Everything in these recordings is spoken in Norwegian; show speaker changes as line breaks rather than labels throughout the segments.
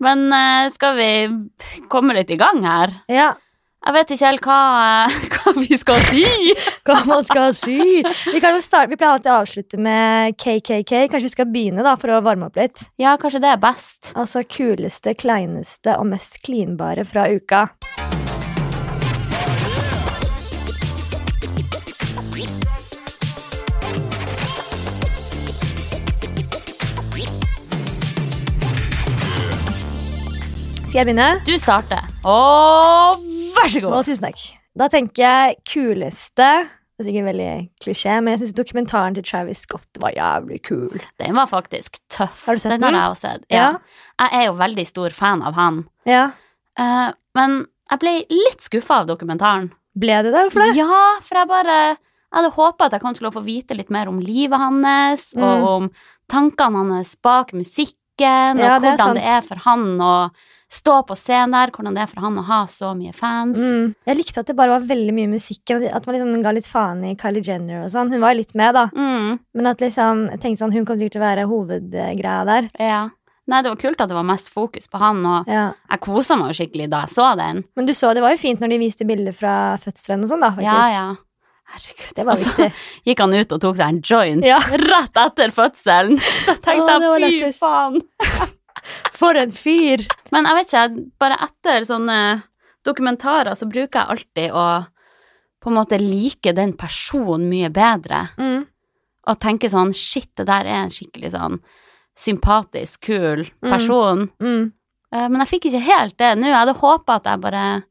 Men eh, skal vi komme litt i gang her?
Ja,
Jeg vet ikke helt hva, eh, hva vi skal si.
hva man skal si. Vi, kan jo starte, vi pleier alltid å avslutte med KKK. Kanskje vi skal begynne da, for å varme opp litt.
Ja, kanskje det er best.
Altså kuleste, kleineste og mest klinbare fra uka. Skal jeg begynne?
Du starter. Og vær så
Å,
god.
tusen takk. Da tenker jeg kuleste Det er sikkert veldig klisjé, men jeg syns dokumentaren til Travis Scott var jævlig kul.
Den var faktisk tøff.
Har du sett
den? har
den?
jeg også sett. Ja. Jeg er jo veldig stor fan av han.
Ja.
Eh, men jeg ble litt skuffa av dokumentaren.
Ble det det? Hvorfor det?
Ja, for jeg bare jeg hadde håpa at jeg kom til å få vite litt mer om livet hans,
Mm.
og om tankene hans bak musikken,
Ja,
og
det er sant.
hvordan det er for han å stå på scenen der, hvordan det er for han å ha så mye fans.
Mm. Jeg likte at det bare var veldig mye musikk. og At man liksom ga litt faen i Kylie Jenner og sånn. Hun var jo litt med, da.
Mm,
Men at liksom, jeg tenkte sånn, hun kommer sikkert til å være hovedgreia der.
ja. Nei, det var kult at det var mest fokus på han, og
Ja.
jeg kosa meg jo skikkelig da jeg så den.
Men du så det var jo fint når de viste bilder fra fødselen og sånn, da. faktisk.
Ja, ja. Herregud,
Det var
Og så
viktig.
gikk han ut og tok seg en joint
Ja.
rett etter fødselen. Da tenkte
Å, det var
jeg, fy
lettest.
faen.
For en fyr!
Men jeg vet ikke, bare etter sånne dokumentarer så bruker jeg alltid å på en måte like den personen mye bedre.
Mm.
Og tenke sånn, shit, det der er en skikkelig sånn sympatisk, kul person.
Mm.
Eh, Men jeg fikk ikke helt det nå. Jeg hadde håpa at jeg bare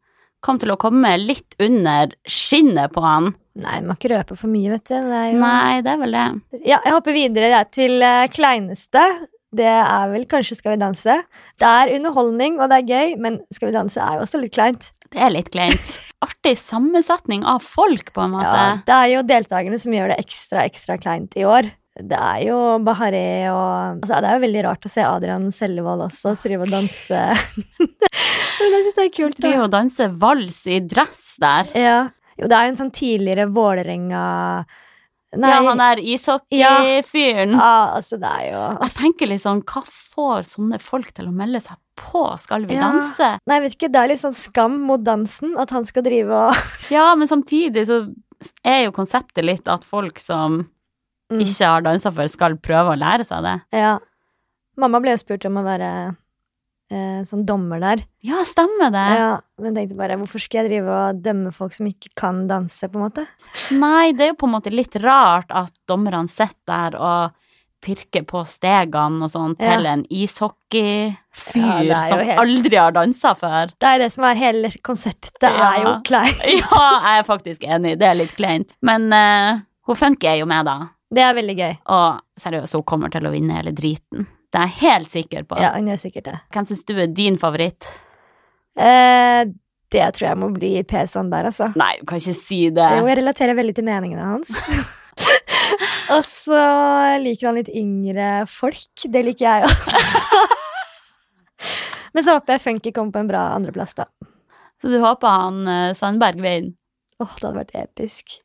kom til å komme litt under skinnet på han.
Nei, man må ikke røpe for mye, vet du. Det er jo...
Nei, det er vel det.
Ja, jeg hopper videre jeg, til eh, kleineste. Det er vel kanskje Skal vi danse. Det er underholdning, og det er gøy, men Skal vi danse er jo også litt kleint.
Det er litt kleint. Artig sammensetning av folk, på en måte.
Ja, det er jo deltakerne som gjør det ekstra, ekstra kleint i år. Det er jo Bahareh og altså, Det er jo veldig rart å se Adrian Sellevold også drive og danse. men jeg syns det er kult. da.
Driver og danser vals i dress der.
Ja. Jo, det er jo en sånn tidligere Vålerenga Nei,
Ja, han der ishockeyfyren.
ah, altså, det er jo
Jeg tenker litt sånn, hva får sånne folk til å melde seg på Skal vi
Ja.
danse?
Nei, jeg vet ikke, Det er litt sånn skam mot dansen at han skal drive og
Ja, men samtidig så er jo konseptet litt at folk som
Mm.
ikke har dansa før, skal prøve å lære seg det.
Ja. Mamma ble jo spurt om å være eh, sånn dommer der.
Ja, stemmer det?
Ja, men jeg tenkte bare, hvorfor skal jeg drive og dømme folk som ikke kan danse, på en måte?
Nei, det er jo på en måte litt rart at dommerne sitter der og pirker på stegene og sånn
Ja.
til en
Ja,
ishockeyfyr
det er jo
som
helt-
aldri har dansa før.
Det er det som er hele konseptet, er jo
Ja.
klein.
Ja, jeg er faktisk enig. Det er litt kleint. Men eh, hun funker er jo med, da.
Det er veldig gøy.
Og seriøst, hun kommer til å vinne hele driten. Det er jeg helt sikker på.
Ja, hun gjør sikkert det.
Hvem syns du er din favoritt?
Eh, det tror jeg må bli Per Sandberg, altså.
Nei, du kan ikke si det.
Jo, jeg relaterer veldig til meningene hans. og så liker han litt yngre folk. Det liker jeg også. Men så håper jeg Funky kommer på en bra andreplass, da.
Så du håper han eh, Sandberg vinner.
Åh, det hadde vært episk.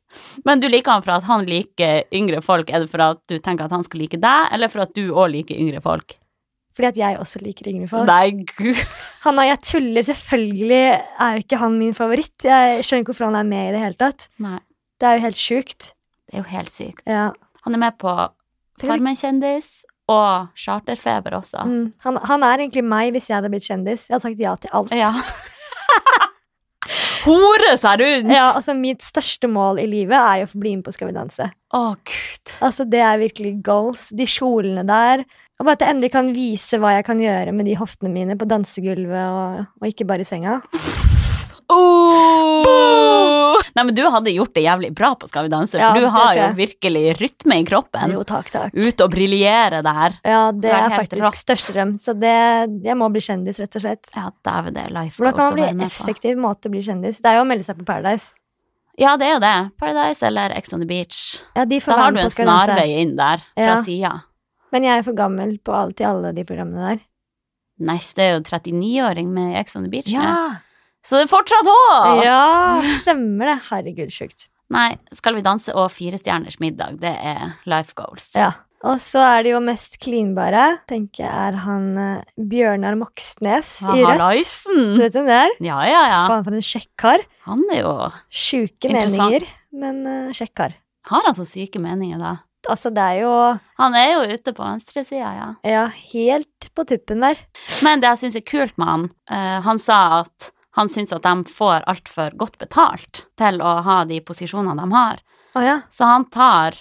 Men du liker han for at han liker yngre folk. Er det for at du tenker at han skal like deg, eller for at du òg liker yngre folk?
Fordi at jeg også liker Yngre folk.
Nei, gud.
Han er, jeg tuller, selvfølgelig er jo ikke han min favoritt. Jeg skjønner ikke hvorfor han er med i det hele tatt.
Nei,
Det er jo helt sjukt.
det er jo helt sykt.
Ja.
Han er med på Farmen kjendis og Charterfeber også.
Mm. Han, han er egentlig meg hvis jeg hadde blitt kjendis. Jeg hadde sagt ja til alt.
Ja. Hore seg rundt!
Ja, altså Mitt største mål i livet er jo å få bli med på Skal vi danse.
Å, gud.
Altså Det er virkelig goals. De kjolene der. Og bare at jeg endelig kan vise hva jeg kan gjøre med de hoftene mine på dansegulvet og, og ikke bare i senga.
Nei, men du hadde gjort det jævlig bra på Skal vi danse,
Ja,
for du
det
har
tror
jo
jeg.
virkelig rytme i kroppen.
Jo, takk, takk.
Ut og briljere der.
Ja, det
er
er
helt rått.
faktisk største drøm. Så det, jeg må bli kjendis, rett og slett.
Ja, dæven, det er life
Hvordan
goals
kan
å
man bli
være
en
med på.
effektiv måte å bli kjendis? Det er jo å melde seg på Paradise.
Ja, det er jo det. Paradise eller Ex on the Beach.
Ja, de får
Da har
være
du
med
en
på Skal vi danse.
snarvei inn der, fra
Ja.
sida.
Men jeg er for gammel på alt i alle de programmene der.
Nei, det er jo 39-åring med Ex on the Beach. det. Så det er fortsatt håp!
ja stemmer det. Herregud, sjukt.
Nei, Skal vi danse og Firestjerners middag, det er life goals.
Ja. Og så er det jo mest klinbare, tenker jeg, er han eh, Bjørnar Moxnes
Ja,
i Rødt. Du
Hallaisen!
vet hvem det er?
Ja, ja, ja.
Faen, for en kjekk kar.
Han er jo
Sjuke
Interessant.
meninger, men eh, kjekk kar.
Har han så syke meninger, da?
Altså, det er jo
Han er jo ute på venstresida, ja.
ja, helt på tuppen der.
Men det jeg syns er kult med han, eh, han sa at han syns at de får altfor godt betalt til å ha de posisjonene de har.
Å ja.
Så han tar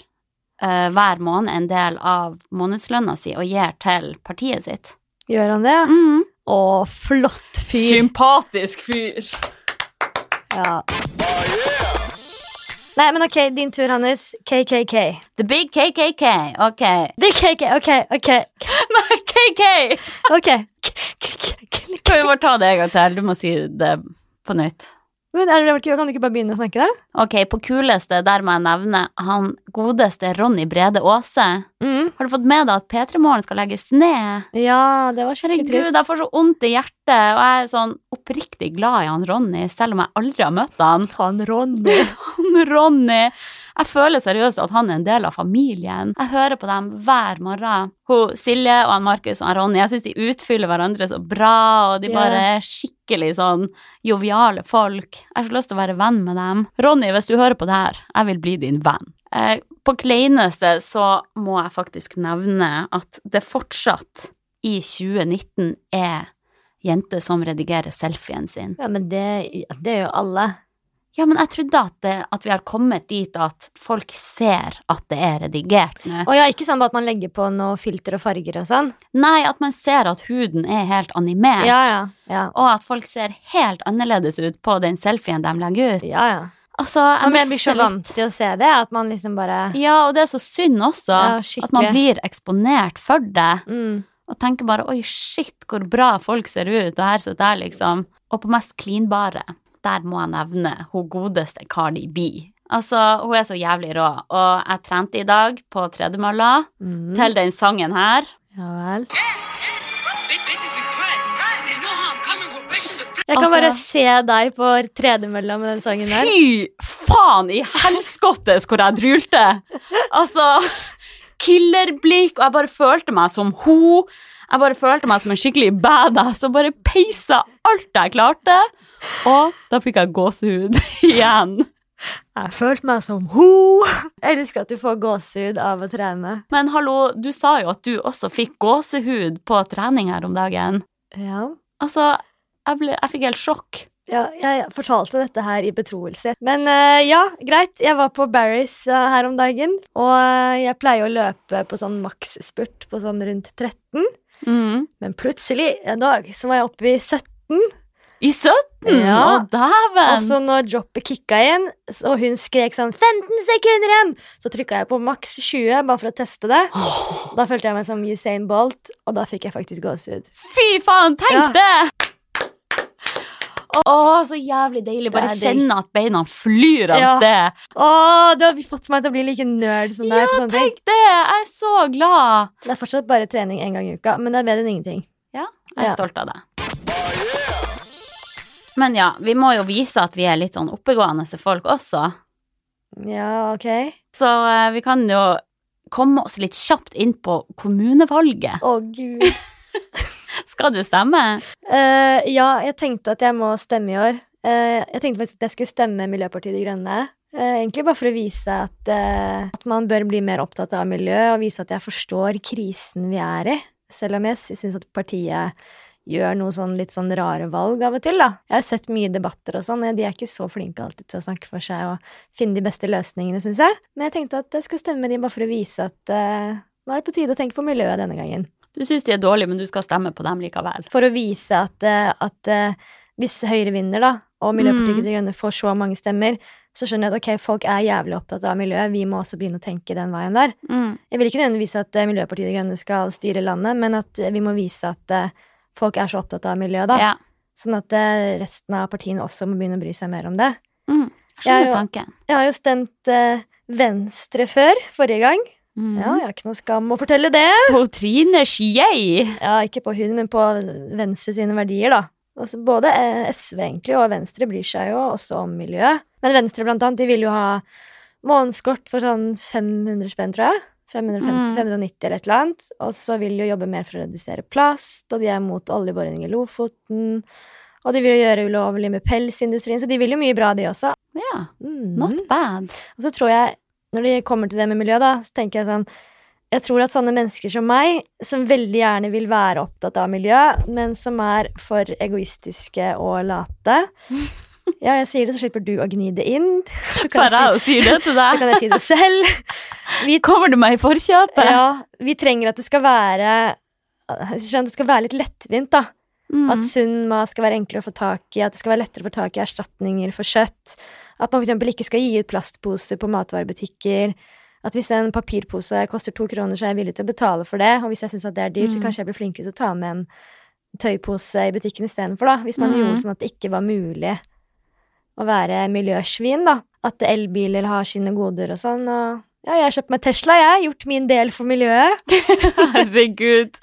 eh, hver måned en del av månedslønna si og gir til partiet sitt.
Gjør han det? ja?
Mm.
Å, flott fyr.
Sympatisk fyr!
Ja. Nei, men ok, din tur, Hannes. KKK.
The big KKK. Ok.
Det er KK, ok, ok.
Nei, KK!
ok.
Kan vi bare ta det en gang til? Du må si det på nytt.
Men er det, kan du ikke bare begynne å snakke, da?
Ok, på kuleste, der må jeg nevne han godeste Ronny Brede Aase.
Mm.
Har du fått med deg at P3-morgen skal legges ned?
Ja, det var skikkelig
Herregud,
trist.
jeg får så vondt i hjertet, og jeg er sånn oppriktig glad i han Ronny, selv om jeg aldri har møtt han.
Han Ronny.
Han Ronny! Jeg føler seriøst at han er en del av familien. Jeg hører på dem hver morgen. Hun Silje og han Markus og han Ronny, jeg syns de utfyller hverandre så bra, og de
Ja.
bare er skikkelig sånn joviale folk. Jeg har så lyst til å være venn med dem. Ronny, hvis du hører på det her, jeg vil bli din venn. Eh, på kleineste så må jeg faktisk nevne at det fortsatt i 2019 er jenter som redigerer selfien sin.
Ja, men det, ja, det gjør jo alle.
Ja, men jeg trodde at, det, at vi har kommet dit at folk ser at det er redigert nå.
Og ja, ikke sånn bare at man legger på noe filter og farger og sånn.
Nei, at man ser at huden er helt animert.
Ja, ja. Ja,
Og at folk ser helt annerledes ut på den selfien de legger ut.
ja. ja.
Altså,
Ja,
jeg
men jeg blir så
mister litt
vant til å se det, at man liksom bare
Ja, og det er så synd også.
Ja,
at man
skikkelig.
blir eksponert for det.
mm.
Og tenker bare 'oi, shit, hvor bra folk ser ut', og her sitter jeg, liksom. Og på mest klinbare, der må jeg nevne hun godeste Cardi B. Altså, hun er så jævlig rå, og jeg trente i dag på tredemølla
Mm.
til den sangen her.
Ja vel.
Big bitches be pressed. They know how I'm coming with bitches to
Jeg kan
Altså-
bare se deg på tredemølla med den sangen der.
Fy faen i helskottes hvor jeg drylte! Altså, killerblikk, og jeg bare følte meg som ho. Jeg bare følte meg som en skikkelig badass og bare peisa alt jeg klarte. Og da fikk jeg gåsehud igjen.
Jeg følte meg som ho! Jeg elsker at du får gåsehud av å trene.
Men hallo, du sa jo at du også fikk gåsehud på trening her om dagen.
Ja.
Altså, jeg, ble, jeg fikk helt sjokk.
Ja, jeg fortalte dette her i betroelse. Men eh, ja, greit. Jeg var på Barry's eh, her om dagen. Og eh, jeg pleier å løpe på sånn maksspurt på sånn rundt 13.
Mm.
Men plutselig en dag så var jeg oppe i 17.
I 17! Å,
Ja. Og
dæven!
så Altså, når droppet kicka inn, s- og hun skrek sånn 15 sekunder igjen, så trykka jeg på maks 20 bare for å teste det. Da følte jeg meg som Usain Bolt, og da fikk jeg faktisk gåsehud.
Fy faen, tenk
Ja.
det! Å, så jævlig deilig. Bare
Det er digg.
kjenne at beina flyr av
Ja.
sted.
Å, du har fått meg til å bli like nerd som deg. på sånne ting.
Tenk det! Jeg er så glad.
Det er fortsatt bare trening én gang i uka, men det er bedre enn ingenting.
Ja, jeg er
Ja.
stolt av deg. Men ja, vi må jo vise at vi er litt sånn oppegående folk også.
Ja, ok.
Så eh, vi kan jo komme oss litt kjapt inn på kommunevalget.
Å, gud.
Skal du stemme?
Eh, ja, jeg tenkte at jeg må stemme i år. Eh, jeg tenkte faktisk at jeg skulle stemme Miljøpartiet De Grønne. Eh, egentlig bare for å vise at, eh, at man bør bli mer opptatt av miljø, og vise at jeg forstår krisen vi er i. Selv om jeg syns at partiet gjør noe sånn litt sånn rare valg av og til, da. Jeg har sett mye debatter og sånn, og de er ikke så flinke alltid til å snakke for seg og finne de beste løsningene, syns jeg. Men jeg tenkte at jeg skal stemme de bare for å vise at eh, nå er det på tide å tenke på miljøet denne gangen
Du syns de er dårlige, men du skal stemme på dem likevel.
for å vise at, eh, at eh, hvis Høyre vinner, da, og Miljøpartiet
Mm.
De Grønne får så mange stemmer, så skjønner jeg at ok, folk er jævlig opptatt av miljøet, vi må også begynne å tenke den veien der.
Mm.
Jeg vil ikke nødvendigvis at eh, Miljøpartiet De Grønne skal styre landet, men at eh, vi må vise at eh, folk er så opptatt av miljøet, da.
Ja.
Sånn at eh, resten av partiene også må begynne å bry seg mer om det.
Mm. Jeg
Jeg er
skjønner
jo-
tanken.
Jeg har jo stemt eh, Venstre før, forrige gang.
Mm.
Ja, jeg har ikke noe skam å fortelle det.
På Trine Skiei.
Ja, ikke på hun, men på Venstre sine verdier, da. Altså, både eh, SV egentlig og Venstre bryr seg jo også om miljø. Men Venstre blant annet, de vil jo ha månedskort for sånn 500 spenn, tror jeg. 550,
Mm.
590 eller et eller annet. Og så vil de jo jobbe mer for å redusere plast, og de er mot oljeboring i Lofoten. Og de vil jo gjøre ulovlig med pelsindustrien, så de vil jo mye bra, de også.
Ja,
Mm.
not bad.
Og så tror jeg, når det kommer til det med miljø, da, så tenker jeg sånn Jeg tror at sånne mennesker som meg, som veldig gjerne vil være opptatt av miljø, men som er for egoistiske og late Ja, jeg sier det, så slipper du å gni det inn. Så kan, jeg,
Farao sier det til
si, så
deg.
kan jeg si det selv.
Kommer du meg i forkjøpet?
Ja, vi trenger at det skal være Skjønner, det skal være litt lettvint, da.
Mm.
At sunn mat skal være enklere å få tak i, at det skal være lettere å få tak i erstatninger for kjøtt. At man f.eks. ikke skal gi ut plastposer på matvarebutikker. At hvis en papirpose koster to kroner, så er jeg villig til å betale for det. Og hvis jeg syns det er dyrt, så
Mm.
kanskje jeg blir flinkere til å ta med en tøypose i butikken istedenfor, da. Hvis man
Mm.
gjorde sånn at det ikke var mulig å være miljøsvin, da. At elbiler har sine goder og sånn. Og ja, jeg har kjøpt meg Tesla, jeg. Gjort min del for miljøet.
Herregud.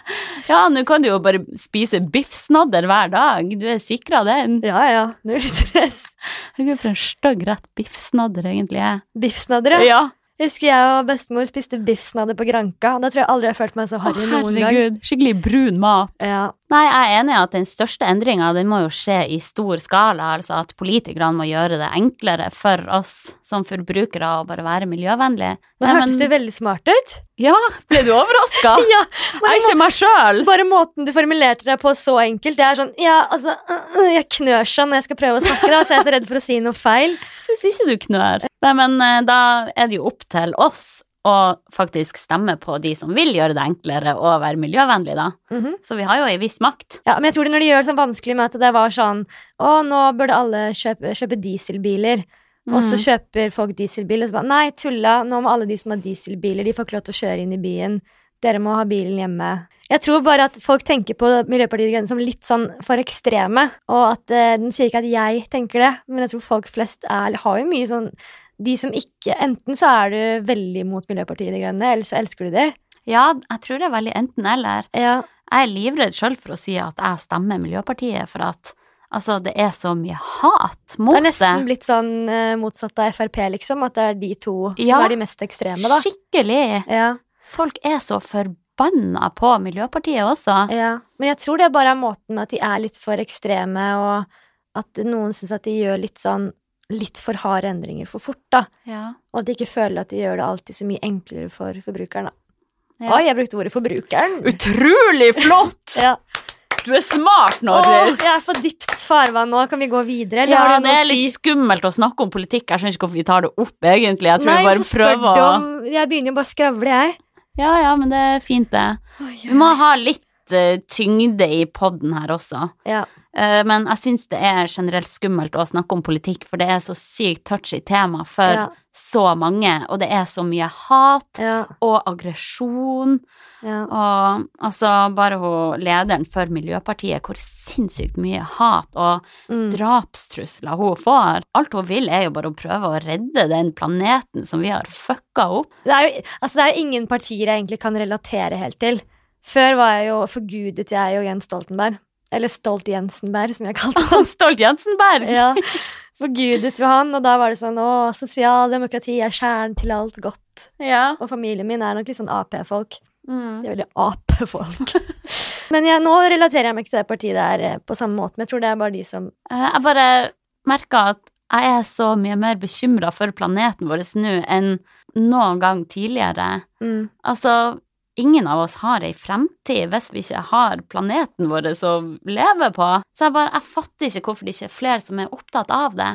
Ja, nå kan du jo bare spise biffsnadder hver dag. Du er sikra den.
Ja ja, null stress.
Herregud, for en stygg rett biffsnadder egentlig er.
Biffsnadder, ja.
Ja,
Husker jeg og bestemor spiste biffsnadder på Granka. Da tror jeg aldri jeg har følt meg så
Å,
harry noen gang.
herregud. Skikkelig brun mat.
Ja.
Nei, jeg er enig i at den største endringa den må jo skje i stor skala. Altså at politikerne må gjøre det enklere for oss som forbrukere å bare være miljøvennlige.
Nå
Nei,
hørtes du veldig smart ut.
Ja, ble du overraska?
Ja,
Jeg er ikke meg sjøl!
Bare måten du formulerte deg på så enkelt. Det er sånn, ja, altså, øh, øh, Jeg knør sånn når jeg skal prøve å snakke, da, så jeg er så redd for å si noe feil.
Syns ikke du knør. Nei, men eh, da er det jo opp til oss å faktisk stemme på de som vil gjøre det enklere å være miljøvennlig, da.
Mhm.
Så vi har jo ei viss makt.
Ja, Men jeg tror det når de gjør det sånn vanskelig med at det var sånn Å, nå burde alle kjøpe, kjøpe dieselbiler. Og så
Mhm.
kjøper folk dieselbil, og så bare Nei, tulla, nå må alle de som har dieselbiler, de får ikke lov til å kjøre inn i byen. Dere må ha bilen hjemme. Jeg tror bare at folk tenker på Miljøpartiet De Grønne som litt sånn for ekstreme. Og at eh, den sier ikke at jeg tenker det, men jeg tror folk flest er, har jo mye sånn De som ikke Enten så er du veldig mot Miljøpartiet De Grønne, eller så elsker du de.
Ja, jeg tror det er veldig enten-eller.
Ja.
Jeg er livredd sjøl for å si at jeg stemmer Miljøpartiet, for at altså, det er så mye hat
Det
mot
er
det.
nesten blitt sånn eh, motsatt av Frp, liksom. At det er de to
Ja.
som er de mest ekstreme, da.
Skikkelig!
Ja.
Folk er så forbanna på Miljøpartiet også.
Ja, men jeg tror det bare er måten med at de er litt for ekstreme, og at noen syns at de gjør litt sånn litt for harde endringer for fort, da.
Ja.
Og at de ikke føler at de gjør det alltid så mye enklere for forbrukeren, da.
Ja.
Oi, jeg brukte ordet 'forbrukeren'.
Utrolig flott!
Ja.
Du er smart,
Åh, jeg er for dypt farvann nå. Kan vi gå videre? Eller
Ja,
har du
det
noe
er
å si?
litt skummelt å snakke om politikk. Jeg skjønner ikke hvorfor vi tar det opp, egentlig. Jeg tror
Nei,
vi bare
hvorfor spør
prøver
du
å
om- Jeg begynner jo bare å skravle, jeg.
Ja, ja, men det er fint, det. Vi må ha litt eh, tyngde i poden her også.
Ja.
Eh, Men jeg syns det er generelt skummelt å snakke om politikk, for det er så sykt touchy tema for
Ja.
så mange, og det er så mye hat
Ja.
og aggresjon.
ja.
Og altså, bare hun lederen for Miljøpartiet, hvor sinnssykt mye hat og
Mm.
drapstrusler hun får. Alt hun vil, er jo bare å prøve å redde den planeten som vi har fucka opp.
Det er jo altså det er jo ingen partier jeg egentlig kan relatere helt til. Før var jeg jo, forgudet jeg jo Jens Stoltenberg. Eller Stolt-Jensenberg, som jeg kalte han.
Stolt Jensenberg!
Ja, forgudet jo han, og da var det sånn Å, sosialdemokrati er kjernen til alt godt.
Ja.
Og familien min er nok litt sånn Ap-folk.
Mm.
De er veldig Ap-folk. Men jeg, nå relaterer jeg meg ikke til det partiet der eh, på samme måte, men jeg tror det er bare de som
Eh, Jeg bare merker at jeg er så mye mer bekymra for planeten vår nå enn noen gang tidligere.
mm,
Altså, ingen av oss har ei fremtid hvis vi ikke har planeten vår å leve på. Så jeg bare, jeg fatter ikke hvorfor det ikke er flere som er opptatt av det.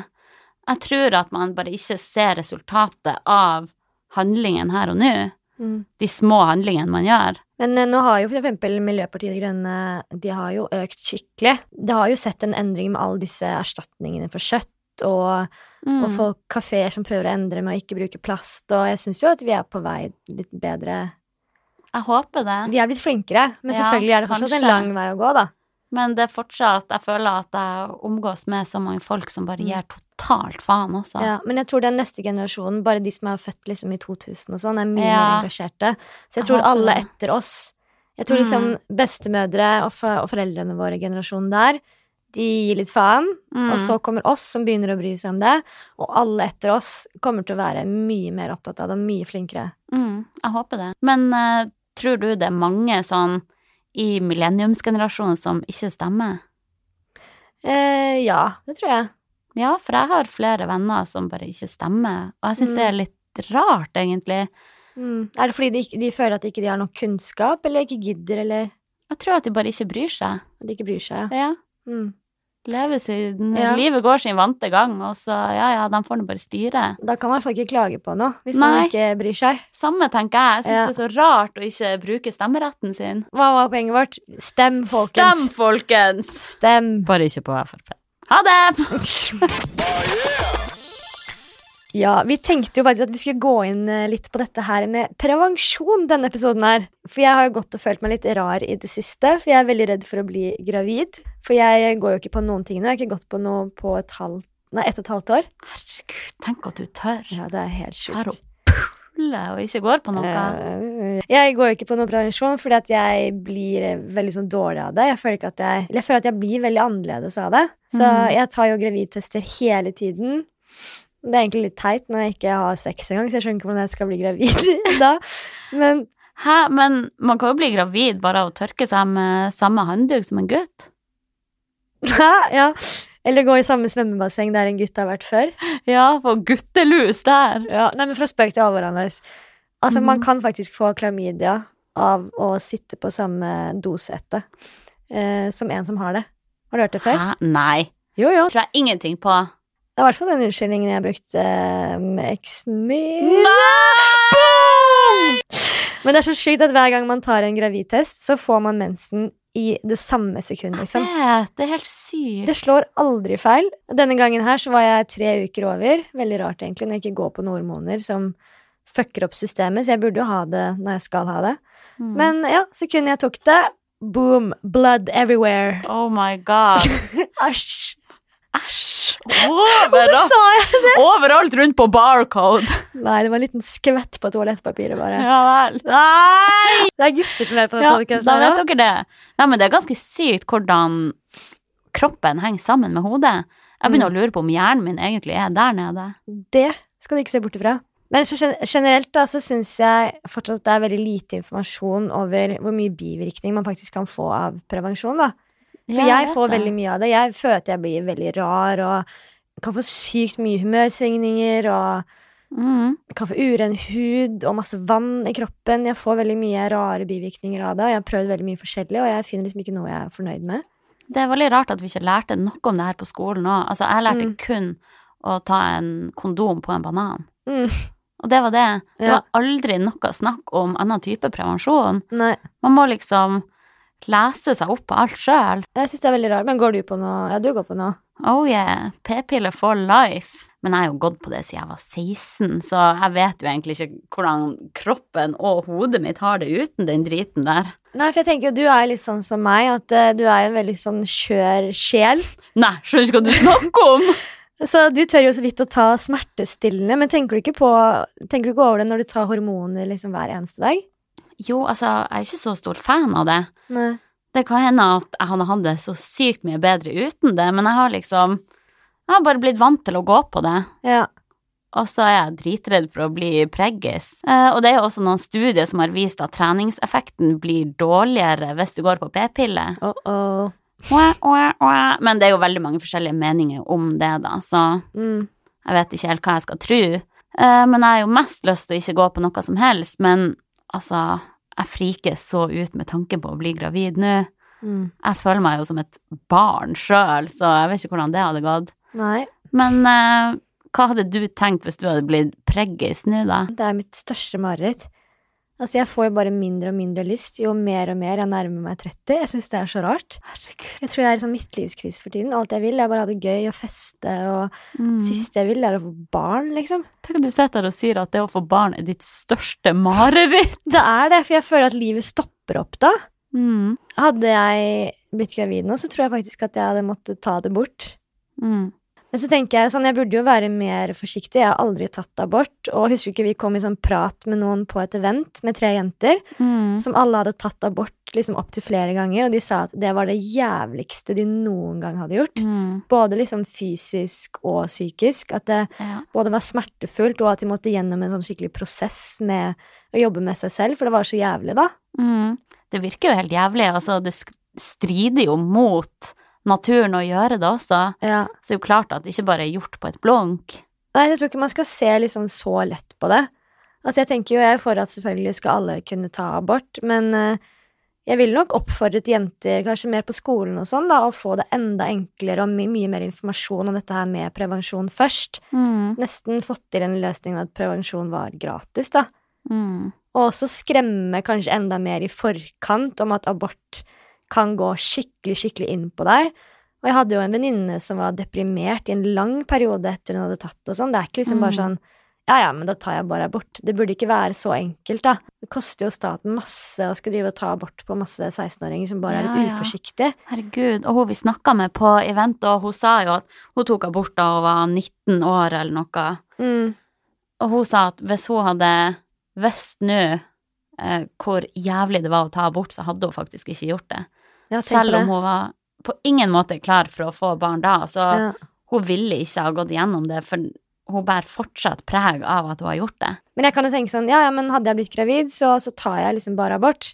Jeg tror at man bare ikke ser resultatet av handlingen her og nå.
mm.
De små handlingene man gjør.
Men eh, nå har jo for eksempel Miljøpartiet De Grønne de har jo økt skikkelig. Det har jo sett en endring med alle disse erstatningene for kjøtt og,
Mm.
og folk kafeer som prøver å endre med å ikke bruke plast. Og jeg syns jo at vi er på vei litt bedre.
Jeg håper det,
Vi er blitt flinkere, men
Ja,
selvfølgelig er det fortsatt
kanskje.
en lang vei å gå, da.
men det er fortsatt Jeg føler at jeg omgås med så mange folk som bare
Mm.
gir totalt faen også.
Ja, men jeg tror den neste generasjonen, bare de som er født liksom i 2000 og sånn, er mye mer
Ja.
engasjerte. Så
Jeg
jeg tror
håper
alle
det. Mm.
etter oss Jeg tror liksom bestemødre og, for, og foreldrene våre, generasjonen der, de gir litt faen,
Mm.
og så kommer oss som begynner å bry seg om det, og alle etter oss kommer til å være mye mer opptatt av det, og mye flinkere.
Mm, jeg håper det. Men eh, tror du det er mange sånn i millenniumsgenerasjonen som ikke stemmer?
Eh, ja, det tror jeg.
Ja, for jeg har flere venner som bare ikke stemmer, og jeg syns det er litt rart, egentlig.
Mm. Er det fordi de, ikke, de føler at de ikke de har nok kunnskap, eller ikke gidder, eller
Jeg tror at de bare ikke bryr seg.
at de ikke bryr seg?
Ja.
Mm.
Leve sin,
Ja.
Livet går sin vante gang, og så ja, ja, de får nå bare styre.
Da kan man i hvert fall ikke klage på noe, hvis man
Nei.
ikke bryr seg.
Samme, tenker jeg. Jeg syns
Ja.
det er så rart å ikke bruke stemmeretten sin.
Hva var poenget vårt? Stem,
Stem,
folkens.
folkens!
Stem.
Bare ikke på Frp. Ha det!
Ja, vi tenkte jo faktisk at vi skulle gå inn eh, litt på dette her med prevensjon denne episoden her. For jeg har jo gått og følt meg litt rar i det siste, for jeg er veldig redd for å bli gravid. For jeg går jo ikke på noen ting nå. Jeg har ikke gått på noe på et halvt Nei, ett og et halvt år.
Herregud, tenk at du tør.
Ja, det er helt
Her og
sjukt.
pulle og ikke går på noe.
Eh, Jeg går jo ikke på noe prevensjon fordi at jeg blir eh, veldig sånn dårlig av det. Jeg føler, ikke at jeg, eller jeg føler at jeg blir veldig annerledes av det. Så
Mhm.
jeg tar jo gravidtester hele tiden. Det er egentlig litt teit når jeg ikke har sex engang, så jeg skjønner ikke hvordan jeg skal bli gravid da. Men
Hæ, men man kan jo bli gravid bare av å tørke seg med samme håndduk som en gutt.
ja, ja. Eller gå i samme svømmebasseng der en gutt har vært før.
Ja, for guttelus der.
Ja, nei, men Fra spøk til alvor, Anders. Altså, Man
Mhm.
kan faktisk få klamydia av å sitte på samme dosehette eh, som en som har det. Har du hørt det før?
Hæ, nei.
Jo, jo.
Tror jeg ingenting på.
Det er i hvert fall den unnskyldningen jeg har brukt eh, med eksen min.
Nei!
Men det er så sjukt at hver gang man tar en gravidtest, så får man mensen i det samme sekundet,
Jeg
liksom.
vet, det er helt sykt.
Det slår aldri feil. Denne gangen her så var jeg tre uker over. Veldig rart, egentlig, når jeg ikke går på noen hormoner som fucker opp systemet, så jeg burde jo ha det når jeg skal ha det.
Mm.
Men ja, sekundet jeg tok det, boom, blood everywhere.
Oh my god.
Æsj.
Æsj!
Hvorfor
Overalt,
sa jeg
overalt rundt på barcode.
Nei, det var en liten skvett på toalettpapiret, bare.
Ja vel.
Nei! Det er gutter som hører på den
Ja,
podcasten
da
her
vet
også.
dere det. Nei, men det er ganske sykt hvordan kroppen henger sammen med hodet. Jeg begynner
Mm.
å lure på om hjernen min egentlig er der nede.
Det skal du ikke se bort ifra. Men så gen- generelt da, så syns jeg fortsatt det er veldig lite informasjon over hvor mye bivirkning man faktisk kan få av prevensjon. da. For jeg får veldig mye av det. Jeg føler at jeg blir veldig rar og kan få sykt mye humørsvingninger og
mm.
kan få uren hud og masse vann i kroppen. Jeg får veldig mye rare bivirkninger av det, og jeg har prøvd veldig mye forskjellig, og jeg finner liksom ikke noe jeg er fornøyd med.
Det er veldig rart at vi ikke lærte noe om det her på skolen òg. Altså, jeg lærte
Mm.
kun å ta en kondom på en banan.
Mm.
Og det var det. Det
Ja.
var aldri noe snakk om annen type prevensjon.
Nei,
Man må liksom lese seg opp på alt sjøl.
jeg syns det er veldig rart. Men går du på noe? Ja, du går på noe.
Oh yeah, p-piller for life. Men jeg har jo gått på det siden jeg var 16, så jeg vet jo egentlig ikke hvordan kroppen og hodet mitt har det uten den driten der.
Nei, for jeg tenker jo du er litt sånn som meg, at eh, du er en veldig sånn skjør sjel.
Nei, skjønner ikke hva du snakker om!
Så du tør jo så vidt å ta smertestillende, men tenker du ikke på Tenker du ikke over det når du tar hormoner liksom hver eneste dag?
Jo, altså, jeg er ikke så stor fan av det.
Nei.
Det kan hende at jeg hadde hatt det så sykt mye bedre uten det, men jeg har liksom Jeg har bare blitt vant til å gå på det.
Ja.
Og så er jeg dritredd for å bli preggis. Eh, og det er jo også noen studier som har vist at treningseffekten blir dårligere hvis du går på p-piller.
Uh-oh.
Wah, wah, wah. Men det er jo veldig mange forskjellige meninger om det, da, så
Mm.
jeg vet ikke helt hva jeg skal tro. Eh, Men jeg har jo mest lyst til å ikke gå på noe som helst, men altså Jeg friker så ut med tanken på å bli gravid nå.
Mm.
Jeg føler meg jo som et barn sjøl, så jeg vet ikke hvordan det hadde gått.
Nei.
Men eh, hva hadde du tenkt hvis du hadde blitt preggis nå, da?
Det er mitt største mareritt. Altså, jeg får jo bare mindre og mindre lyst jo mer og mer jeg nærmer meg 30. Jeg syns det er så rart.
Herregud.
Jeg tror jeg er i sånn midtlivskrise for tiden. Alt jeg vil, er bare ha det gøy og feste, og
Mm.
siste jeg vil, er å få barn, liksom.
Tenk at du sitter her og sier at det å få barn er ditt største mareritt.
Det er det, for jeg føler at livet stopper opp da.
Mm.
Hadde jeg blitt gravid nå, så tror jeg faktisk at jeg hadde måttet ta det bort.
Mm.
Men Men så tenker jeg sånn, jeg burde jo være mer forsiktig. Jeg har aldri tatt abort. Og husker ikke vi kom i sånn prat med noen på et event med tre jenter
Mm.
som alle hadde tatt abort liksom opptil flere ganger, og de sa at det var det jævligste de noen gang hadde gjort.
Mm.
Både liksom fysisk og psykisk. At det
Ja.
både var smertefullt, og at de måtte gjennom en sånn skikkelig prosess med å jobbe med seg selv, for det var så jævlig, da.
Mm. Det virker jo helt jævlig. Altså, det sk- strider jo mot naturen å gjøre det også. Så det er jo klart at det ikke bare er gjort på et blunk.
Nei, jeg tror ikke man skal se liksom så lett på det. Altså, jeg tenker jo jeg er for at selvfølgelig skal alle kunne ta abort, men eh, jeg ville nok oppfordret jenter, kanskje mer på skolen og sånn, da, å få det enda enklere og my mye mer informasjon om dette her med prevensjon først.
Mm.
Nesten fått til en løsning med at prevensjon var gratis, da.
Mm.
Og også skremme kanskje enda mer i forkant om at abort kan gå skikkelig, skikkelig inn på deg. Og jeg hadde jo en venninne som var deprimert i en lang periode etter hun hadde tatt og sånn. Det er ikke liksom bare
Mm.
sånn ja, ja, men da tar jeg bare abort. Det burde ikke være så enkelt, da. Det koster jo staten masse å skulle drive og ta abort på masse 16-åringer som bare er
Ja,
litt
ja.
uforsiktige.
Herregud. Og hun vi snakka med på event, og hun sa jo at hun tok abort da hun var 19 år eller noe.
Mm.
Og hun sa at hvis hun hadde visst nå eh, hvor jævlig det var å ta abort, så hadde hun faktisk ikke gjort det.
Ja, tenk
Selv om
på det.
hun var på ingen måte klar for å få barn da. Så
ja.
hun ville ikke ha gått gjennom det, for hun bærer fortsatt preg av at hun har gjort det.
Men jeg kan jo tenke sånn, ja, ja, men hadde jeg blitt gravid, så, så tar jeg liksom bare abort.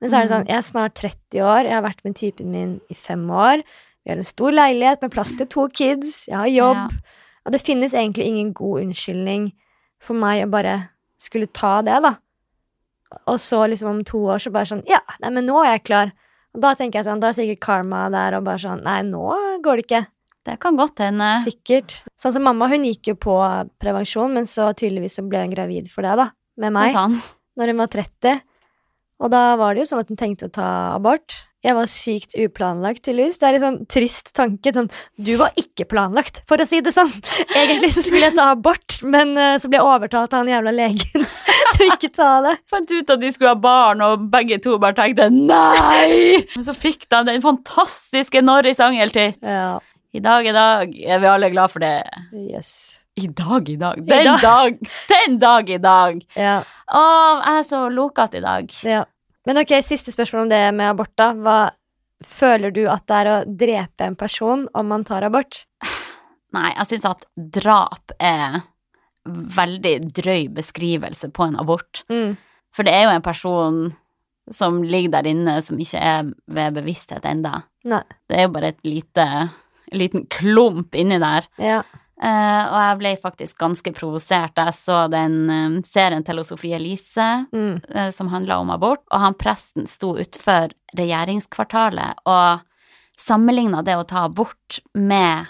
Men så er det sånn, jeg er snart 30 år, jeg har vært med typen min i fem år, vi har en stor leilighet med plass til to kids, jeg har jobb. Og det finnes egentlig ingen god unnskyldning for meg å bare skulle ta det, da. Og så liksom om to år så bare sånn, ja, nei, men nå er jeg klar. Og da tenker jeg sånn, da er sikkert karma der, og bare sånn, nei, nå går det ikke.
Det kan godt hende.
Sikkert. Sånn som mamma, hun gikk jo på prevensjon, men så tydeligvis så ble hun gravid for det, da. Med meg.
Sånn.
Når hun var 30. Og da var det jo sånn at hun tenkte å ta abort. Jeg var sykt uplanlagt, tydeligvis. Det er litt sånn trist tanke. Sånn, du var ikke planlagt, for å si det sånn. Egentlig så skulle jeg ta abort, men eh, så ble jeg overtalt av han jævla legen til å ikke ta det.
Fant ut at de skulle ha barn, og begge to bare tenkte nei! Men så fikk de den fantastiske Norris-angeltits.
Ja,
I dag i dag er vi alle glad for det.
yes.
I dag i dag.
I
Den
dag.
dag. Den dag i dag.
Ja,
Å, jeg er så lokete i dag.
ja. Men ok, siste spørsmål om det med abort, da. Hva føler du at det er å drepe en person om man tar abort?
Nei, jeg syns at drap er veldig drøy beskrivelse på en abort.
Mm.
For det er jo en person som ligger der inne, som ikke er ved bevissthet enda.
Nei.
Det er jo bare et lite, en liten klump inni der.
Ja.
Eh, og jeg ble faktisk ganske provosert da jeg så den eh, serien til Sofie Elise
Mm.
eh, som handla om abort, og han presten sto utenfor regjeringskvartalet og sammenligna det å ta abort med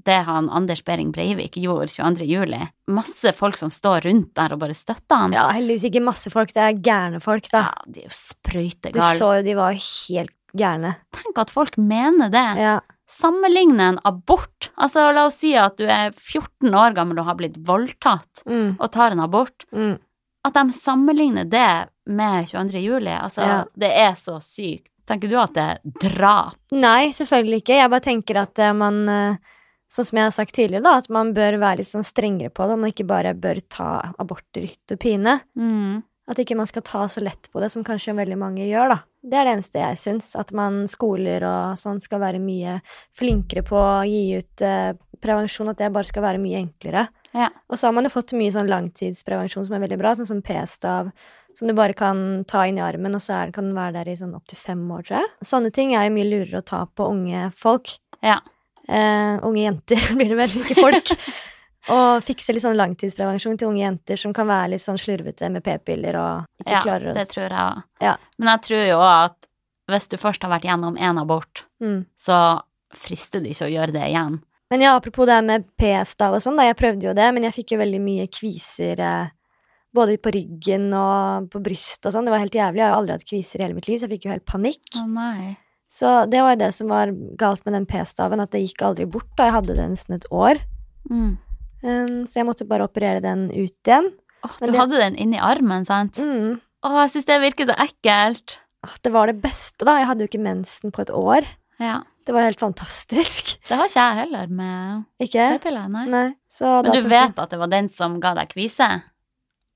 det han Anders Behring Breivik gjorde 22. juli. Masse folk som står rundt der og bare støtter han.
ja, heldigvis ikke masse folk. Det er gærne folk, da.
Ja, de er jo
Du
sprøytegale.
så jo de var helt gærne.
Tenk at folk mener det.
Ja.
Sammenligne en abort. Altså, la oss si at du er 14 år gammel og har blitt voldtatt,
Mm.
og tar en abort.
Mm.
At de sammenligner det med 22. juli, altså,
Ja.
det er så sykt. Tenker du at det er drap?
Nei, selvfølgelig ikke. Jeg bare tenker at eh, man eh, Sånn som jeg har sagt tidligere, da, at man bør være litt sånn strengere på det. Man ikke bare bør ta aborter i hytt og pine.
Mm.
At ikke man skal ta så lett på det som kanskje veldig mange gjør, da. Det er det eneste jeg syns. At man skoler og sånn skal være mye flinkere på å gi ut eh, prevensjon. At det bare skal være mye enklere.
Ja.
Og så har man jo fått mye sånn langtidsprevensjon som er veldig bra, sånn som p-stav, som du bare kan ta inn i armen, og så er, kan den være der i sånn opptil fem år, tror jeg. Sånne ting er jo mye lurere å ta på unge folk.
Ja.
Eh, unge jenter blir det vel, ikke folk. og fikse litt sånn langtidsprevensjon til unge jenter som kan være litt sånn slurvete med p-piller og ikke
ja,
klarer å
det tror jeg òg.
Ja.
Men jeg tror jo også at hvis du først har vært gjennom én abort,
Mm.
så frister det ikke å gjøre det igjen.
Men ja, apropos det her med p-stav og sånn, da, jeg prøvde jo det, men jeg fikk jo veldig mye kviser eh, både på ryggen og på brystet og sånn. Det var helt jævlig. Jeg har jo aldri hatt kviser i hele mitt liv, så jeg fikk jo helt panikk.
Å nei.
Så det var jo det som var galt med den p-staven, at det gikk aldri bort. da Jeg hadde det nesten et år.
Mm.
Um, så jeg måtte bare operere den ut igjen.
Åh,
Men
du
det-
hadde den inni armen, sant?
Mm.
Å, jeg syns det virker så ekkelt.
Ah, Det var det beste, da. Jeg hadde jo ikke mensen på et år.
Ja.
Det var helt fantastisk.
Det har ikke jeg heller med
Ikke?
p-piller, nei.
Nei. Så da
Men du
tok
vet at det var den som ga deg kvise?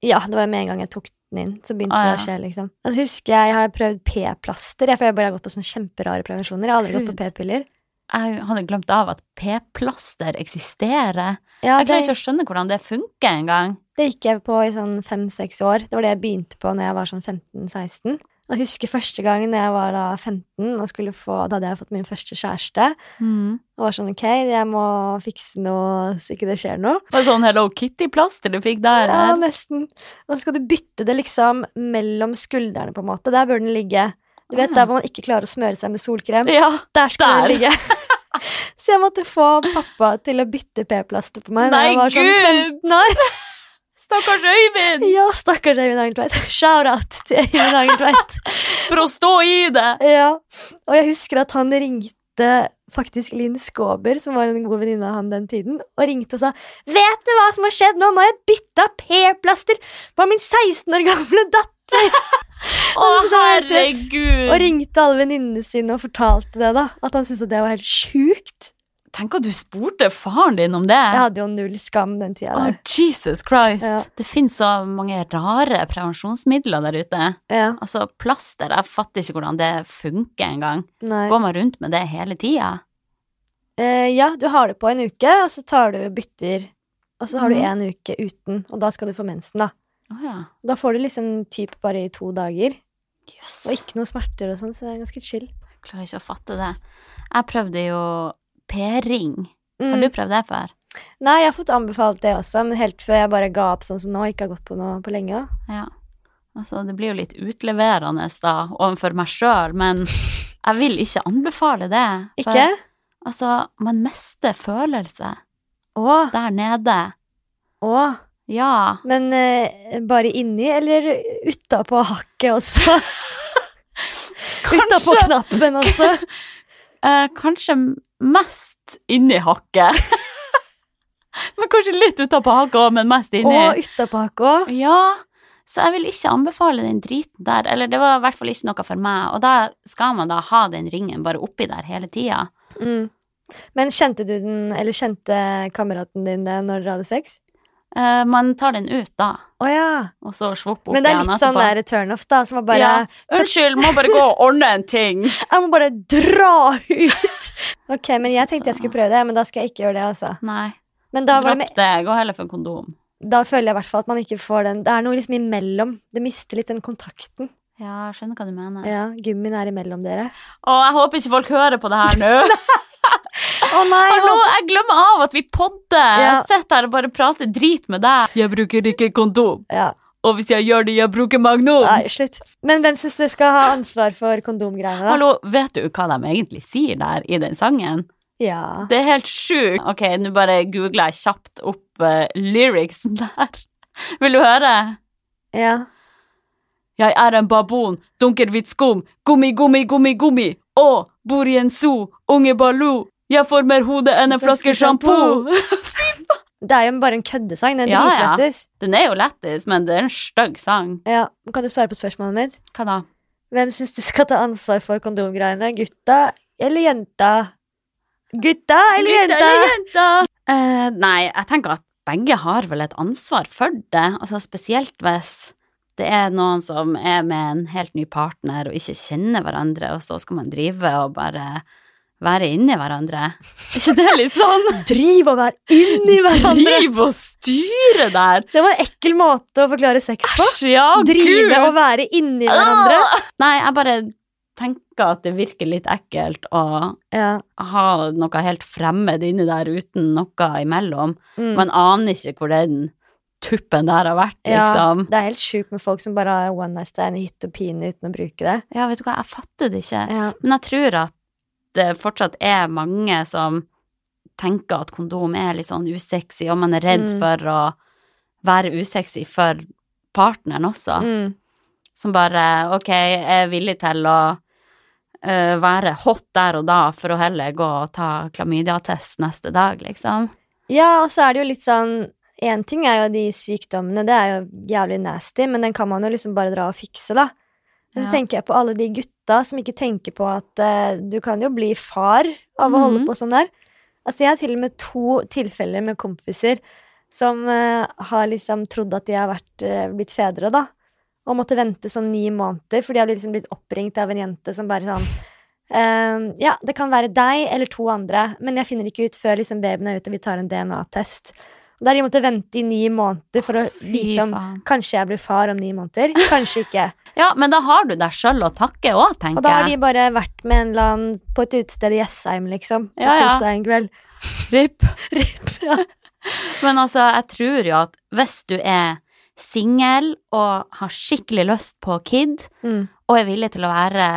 Jeg, ja, det var med en gang jeg tok den inn, så begynte
Ah,
det å
ja.
skje, liksom. Jeg husker jeg har prøvd p-plaster, jeg, for jeg bare har gått på sånne kjemperare prevensjoner. Jeg har aldri gått på
Gud.
p-piller.
Jeg hadde glemt av at p-plaster eksisterer.
Ja,
Jeg
det,
klarer ikke å skjønne hvordan det funker engang.
det gikk jeg på i sånn fem-seks år. Det var det jeg begynte på når jeg var sånn 15-16. Jeg husker første gang når jeg var da 15, og skulle få, da hadde jeg fått min første kjæreste.
Mm.
Og var sånn, ok, jeg må fikse noe så ikke det skjer noe.
Var det sånn Hello Kitty-plaster du fikk da,
Ja,
eller?
nesten. Og så skal du bytte det liksom mellom skuldrene, på en måte. Der bør den ligge. Du vet
Ah.
der hvor man ikke klarer å smøre seg med solkrem?
Ja.
Der skal
der.
den ligge. Så jeg måtte få pappa til å bytte p-plaster på meg. da
Nei,
jeg var
Gud!
Sånn 15 år.
Stakkars Øyvind!
Ja, stakkars Øyvind Hagentveit. Shout-out til Øyvind Hagentveit.
For å stå i det!
Ja. Og jeg husker at han ringte faktisk Linn Skåber, som var en god venninne av han den tiden, og ringte og sa Vet du hva som har skjedd nå? Nå har jeg bytta p-plaster på min 16 år gamle datter!
Å,
Altså, det var helt-
herregud!
Og ringte alle venninnene sine og fortalte det, da. At han syntes at det var helt sjukt.
Tenk at du spurte faren din om det!
Jeg hadde jo null skam den tida
Å,
der.
Jesus Christ!
Ja.
Det finnes så mange rare prevensjonsmidler der ute.
Ja,
Altså, plaster, jeg fatter ikke hvordan det funker engang.
nei.
Går man rundt med det hele tida?
Eh, ja, du har det på en uke, og så tar du bytter. Og så har du
Mhm.
én uke uten, og da skal du få mensen, da.
Å ja.
Da får du liksom typ bare i to dager,
Jøss.
og ikke noe smerter og sånn, så det er ganske chill.
Jeg klarer ikke å fatte det. Jeg prøvde jo p-ring. Har
Mm.
du prøvd det før?
Nei, jeg har fått anbefalt det også, men helt før jeg bare ga opp sånn som nå, ikke har gått på noe på lenge. da.
Ja. Altså, det blir jo litt utleverende da, overfor meg sjøl, men jeg vil ikke anbefale det. for,
Ikke?
Altså, man mister følelse
Å,
der nede.
å.
Ja.
Men eh, bare inni eller utapå hakket også? Utapå knappen også.
Eh, kanskje mest inni hakket. men kanskje litt utapå hakket òg, men mest inni.
Og utapå hakket òg.
Ja, så jeg vil ikke anbefale den driten der. Eller det var i hvert fall ikke noe for meg. Og da skal man da ha den ringen bare oppi der hele tida.
Mm. Men kjente du den, eller kjente kameraten din det når dere hadde sex?
Eh, man tar den ut da,
Å ja.
og så svopp opp
Men det er
igjen
litt sånn
etterpå.
der turnoff, da, som var bare
Ja. Unnskyld, må bare gå og ordne en ting.
Jeg må bare dra ut! Ok, men jeg tenkte jeg
Så-
skulle prøve det, men da skal jeg ikke gjøre det, altså.
Nei,
Men da, var det
dropp det. Gå heller for kondom.
med, da føler jeg i hvert fall at man ikke får den Det er noe liksom imellom. Du mister litt den kontakten.
Ja, jeg skjønner hva du mener.
Ja, Gummien er imellom dere.
Å, jeg håper ikke folk hører på det her nå.
Å nei!
Hallo, jeg glemmer av at vi podder.
Ja.
Jeg sitter her og bare prater drit med deg. Jeg bruker ikke kondom.
Ja,
Og hvis jeg gjør det, jeg bruker magnum.
nei, slutt. Men hvem syns du skal ha ansvar for kondomgreiene, da?
Hallo, vet du hva de egentlig sier der i den sangen?
Ja.
Det er helt sjukt. Ok, nå bare googler jeg kjapt opp eh, lyricsen der. Vil du høre?
ja.
Jeg er en babon, dunker hvitt skum, gummi, gummi, gummi, gummi. Å, bor i en zoo, unge Baloo. Jeg får mer hode enn en flaske sjampo.
Det er jo bare en køddesang. Den
Ja,
er
ja.
dritlættis.
Den er jo lættis, men det er en stygg sang.
Ja. Kan du svare på spørsmålet mitt?
Hva da?
Hvem syns du skal ta ansvar for kondomgreiene? Gutta eller jenta? Gutta eller jenta?
Eh, nei, jeg tenker at begge har vel et ansvar for det. Altså spesielt hvis det er noen som er med en helt ny partner og ikke kjenner hverandre, og så skal man drive og bare være inni hverandre. Er ikke det litt sånn?
Driv og vær inni hverandre!
Driv og styre der!
Det var en ekkel måte å forklare sex på.
Æsj, ja,
Drive
gud! Ah!
og være inni hverandre.
Nei, jeg bare tenker at det virker litt ekkelt å
Ja.
ha noe helt fremmed inni der uten noe imellom.
Mm.
Man aner ikke hvor den tuppen der har vært,
ja.
liksom.
Det er helt sjukt med folk som bare har one night stand i hytte og pine uten å bruke det.
Ja, vet du hva, jeg fatter det ikke.
Ja.
Men jeg tror at det fortsatt er mange som tenker at kondom er litt sånn usexy, og man er redd
Mm.
for å være usexy for partneren også.
Mm.
Som bare, ok, er villig til å øh, være hot der og da, for å heller gå og ta klamydiatest neste dag, liksom.
Ja, og så er det jo litt sånn Én ting er jo de sykdommene, det er jo jævlig nasty, men den kan man jo liksom bare dra og fikse, da. Men
Ja.
så tenker jeg på alle de gutta jenta som ikke tenker på at eh, du kan jo bli far av å holde
Mhm.
på sånn der. Altså, jeg har til og med to tilfeller med kompiser som eh, har liksom trodd at de har vært, eh, blitt fedre, da. Og måtte vente sånn ni måneder, for de har liksom blitt oppringt av en jente som bare sånn ehm, Ja, det kan være deg eller to andre, men jeg finner ikke ut før liksom babyen er ute og vi tar en DNA-test. Og Der de måtte vente i ni måneder for å
Fy
vite om
faen.
Kanskje jeg blir far om ni måneder, kanskje ikke.
Ja, men da har du deg sjøl å takke òg,
Og da har
tenker
de
jeg.
bare vært med en eller annen på et utested i Jessheim, liksom. og
Ja, ja.
koset seg en kveld.
Ripp.
Rip, ja.
Men altså, jeg tror jo at hvis du er singel og har skikkelig lyst på kid,
Mm.
og er villig til å være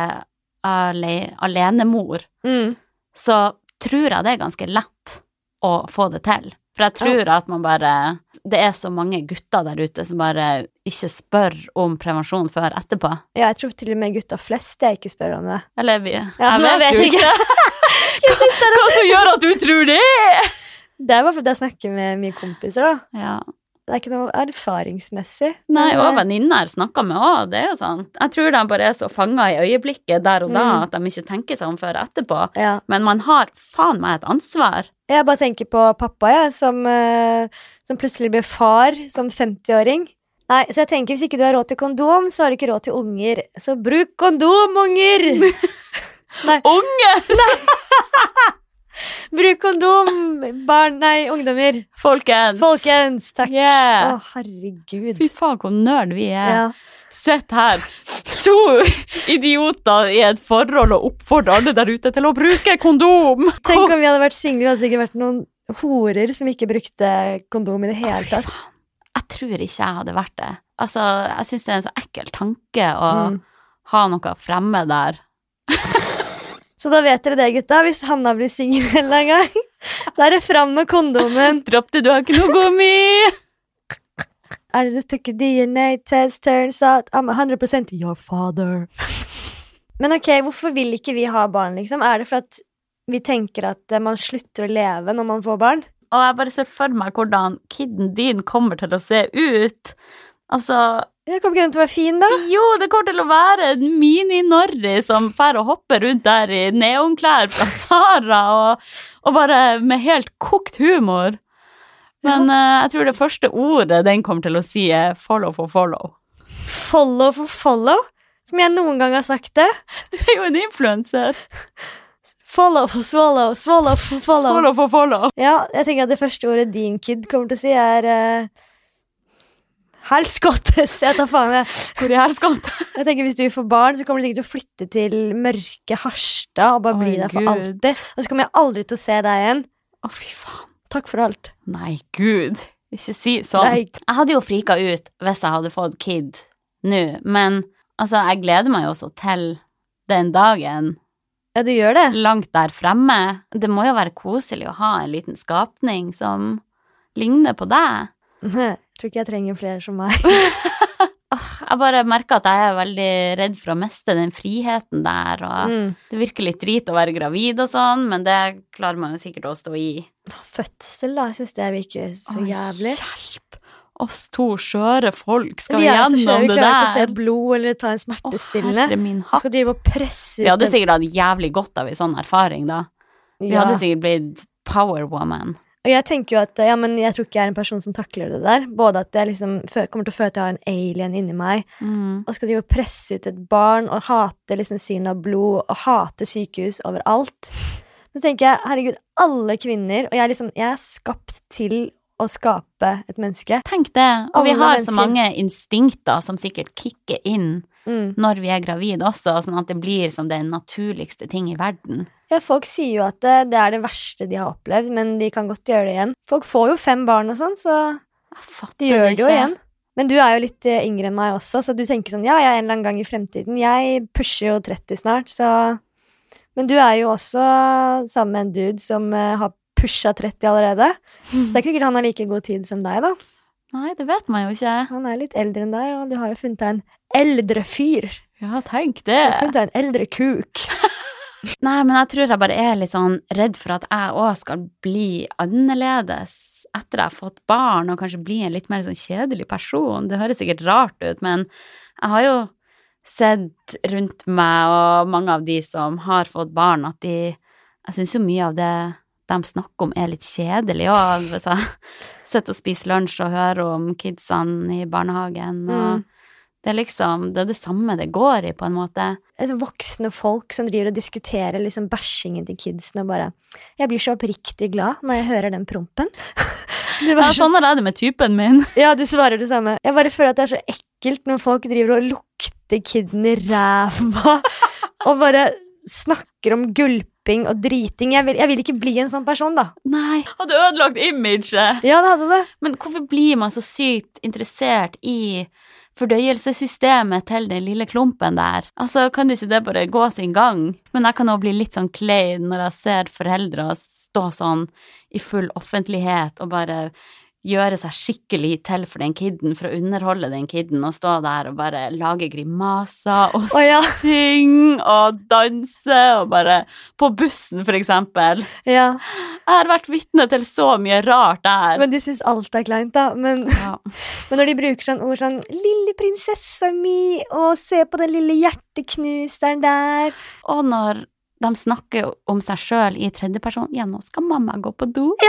ale alenemor,
Mm.
så tror jeg det er ganske lett å få det til. For jeg tror at man bare Det er så mange gutter der ute som bare ikke spør om prevensjon før etterpå.
ja, jeg tror til og med gutta flest jeg ikke spør om det.
Eller vi
Ja,
Jeg
jeg
vet, jo
vet
ikke. hva, hva som gjør at du tror det?
Det er bare fordi jeg snakker med mye kompiser, da.
Ja.
Det er ikke noe erfaringsmessig.
Nei,
Men,
og
eh,
venninner snakka med òg, det er jo sånn. Jeg tror de bare er så fanga i øyeblikket der og da
Mm.
at de ikke tenker seg om før etterpå.
Ja.
Men man har faen meg et ansvar.
Jeg bare tenker på pappa, jeg, som, eh, som plutselig ble far som 50-åring. Nei, så jeg tenker Hvis ikke du har råd til kondom, så har du ikke råd til unger. Så bruk kondom, unger!
Unge!
Bruk kondom, barn Nei, ungdommer.
Folkens!
Folkens, takk.
Yeah.
Å, herregud.
Fy faen, hvor nerd vi er.
Ja.
Sett her, to idioter i et forhold og oppfordrer alle der ute til å bruke kondom.
Tenk om vi hadde vært single, vi hadde sikkert vært noen horer som ikke brukte kondom i det hele
Fy
tatt.
faen. Jeg tror ikke jeg hadde vært det. Altså, jeg syns det er en så ekkel tanke å
Mm.
ha noe fremme der.
Så da vet dere det, gutta. Hvis Hanna blir singel en eller annen gang, da er det fram med kondomen.
Dropp det, du har ikke noe gummi!
I just took a DNA test, turns out I'm 100 your father. Men ok, hvorfor vil ikke vi ha barn, liksom? Er det for at vi tenker at eh, man slutter å leve når man får barn?
Og jeg bare ser for meg hvordan kiden din kommer til å se ut. Altså,
Jeg kommer ikke den til å være fin, da?
jo, det kommer til å være en mini-Norri som fær og hopper rundt der i neonklær fra Sara, og, og bare med helt kokt humor. Men eh, jeg tror det første ordet den kommer til å si, er 'follow for follow'.
Follow for follow, som jeg noen gang har sagt det.
Du er jo en influenser.
Follow for swallow, swallow for follow.
Follow for follow.
Ja, jeg tenker at det første ordet din kid kommer til å si, er uh, Helskottes! Jeg tar faen jeg.
Hvor er helskapet?
Jeg tenker Hvis du får barn, så kommer du sikkert til å flytte til mørke Harstad og bare bli
Å,
der for
Gud.
alltid. Og så kommer jeg aldri til å se deg igjen.
Å, fy faen.
Takk for alt.
Nei, gud. Ikke si sånn.
Nei.
Jeg hadde jo frika ut hvis jeg hadde fått kid nå, men altså, jeg gleder meg jo også til den dagen
Ja, du gjør det.
langt der fremme. Det må jo være koselig å ha en liten skapning som ligner på deg.
Jeg tror ikke jeg trenger flere som meg.
Åh, Jeg bare merker at jeg er veldig redd for å miste den friheten der, og
Mm.
det virker litt drit å være gravid og sånn, men det klarer man jo sikkert å stå i.
Fødsel, da. Jeg syns det virker så
Å,
jævlig.
Hjelp! Oss to skjøre folk skal
Vi er så skjøre,
gjennom
vi
det
klarer ikke å se
der.
blod eller ta en
Å,
smertestillende.
herre min
Vi
hatt.
skal drive og presse ut
Vi hadde
en-
sikkert hatt jævlig godt av en sånn erfaring, da. Vi
Ja.
hadde sikkert blitt power woman.
Og jeg tenker jo at ja, men jeg tror ikke jeg er en person som takler det der. Både at jeg liksom fø- kommer til å føle at jeg har en alien inni meg, og skal drive og presse ut et barn og hate liksom synet av blod og hate sykehus overalt. Så tenker jeg herregud, alle kvinner Og jeg er liksom, jeg er skapt til å skape et menneske.
Tenk det. Og vi
Alle
har så
mennesker.
mange instinkter som sikkert kicker inn
Mm.
når vi er gravid også, sånn at det blir som den naturligste ting i verden.
Ja, folk sier jo at det, det er det verste de har opplevd, men de kan godt gjøre det igjen. Folk får jo fem barn og sånn, så
Jeg fatter
De gjør det jo
ikke.
igjen. Men du er jo litt eh, yngre enn meg også, så du tenker sånn ja, ja, en eller annen gang i fremtiden. Jeg pusher jo 30 snart, så Men du er jo også sammen med en dude som eh, har pusha 30 allerede.
Mm.
Så det er ikke sikkert han har like god tid som deg, da.
Nei, det vet man jo ikke.
Han er litt eldre enn deg, og du har jo funnet deg en eldre fyr.
Ja, tenk
Du
det.
har funnet deg en eldre kuk.
Nei, men jeg tror jeg bare er litt sånn redd for at jeg òg skal bli annerledes etter jeg har fått barn, og kanskje bli en litt mer sånn kjedelig person. Det høres sikkert rart ut, men jeg har jo sett rundt meg, og mange av de som har fått barn, at de Jeg syns jo mye av det de snakker om, er litt kjedelig òg. Hvis jeg sitter og spiser lunsj og hører om kidsene i barnehagen, og
Mm.
det er liksom Det er det samme det går i, på en måte.
Altså, voksne folk som driver og diskuterer liksom bæsjingen til kidsen og bare 'Jeg blir så oppriktig glad når jeg hører den prompen'. Det var
Ja,
så-
sånn er det med typen min.
Ja, du svarer det samme. Jeg bare føler at det er så ekkelt når folk driver og lukter kiden i ræva og bare snakker om gulping og driting. Jeg vil, jeg vil ikke bli en sånn person, da.
Nei. Hadde ødelagt imaget.
Ja, det hadde det.
Men hvorfor blir man så sykt interessert i fordøyelsessystemet til den lille klumpen der? Altså, kan du ikke det bare gå sin gang? Men jeg kan òg bli litt sånn klein når jeg ser foreldre stå sånn i full offentlighet og bare gjøre seg skikkelig til for den kiden, for å underholde den kiden, og stå der og bare lage grimaser og
Å, ja.
synge og danse og bare På bussen, for eksempel.
Ja.
Jeg har vært vitne til så mye rart der.
Men du syns alt er kleint, da. Men,
ja.
men når de bruker sånn ord sånn 'lille prinsessa mi', og 'se på den lille hjerteknuseren der'
Og når de snakker om seg sjøl i tredjeperson Ja, nå skal mamma gå på do.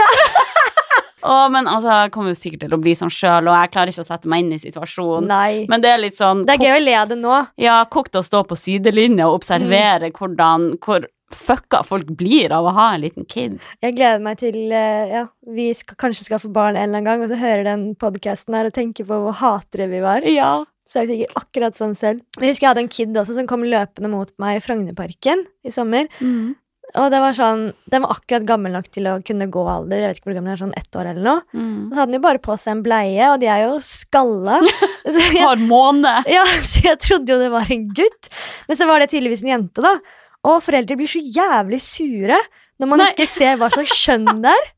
Å, men altså, jeg kommer jo sikkert til å bli sånn sjøl, og jeg klarer ikke å sette meg inn i situasjonen.
Nei.
Men det er litt sånn
det er gøy
kokt-
å le av det nå.
Ja, kokt å stå på sidelinja og
Mm.
observere hvordan hvor fucka folk blir av å ha en liten kid.
Jeg gleder meg til eh, ja, vi skal, kanskje skal få barn en eller annen gang, og så hører den podkasten her og tenker på hvor hatere vi var.
Ja.
Så er vi sikkert akkurat sånn selv. Jeg husker jeg hadde en kid også som kom løpende mot meg i Frognerparken i sommer.
Mm.
Og det var sånn, Den var akkurat gammel nok til å kunne gå alder. Jeg vet ikke hvor gammel den er, sånn ett år eller noe.
Mm.
Og så hadde den jo bare på seg en bleie, og de er jo skalla. Så jeg,
Har måne.
ja, så jeg trodde jo det var en gutt, men så var det tydeligvis en jente, da. Og foreldre blir så jævlig sure når man
Nei.
ikke ser hva slags kjønn det er.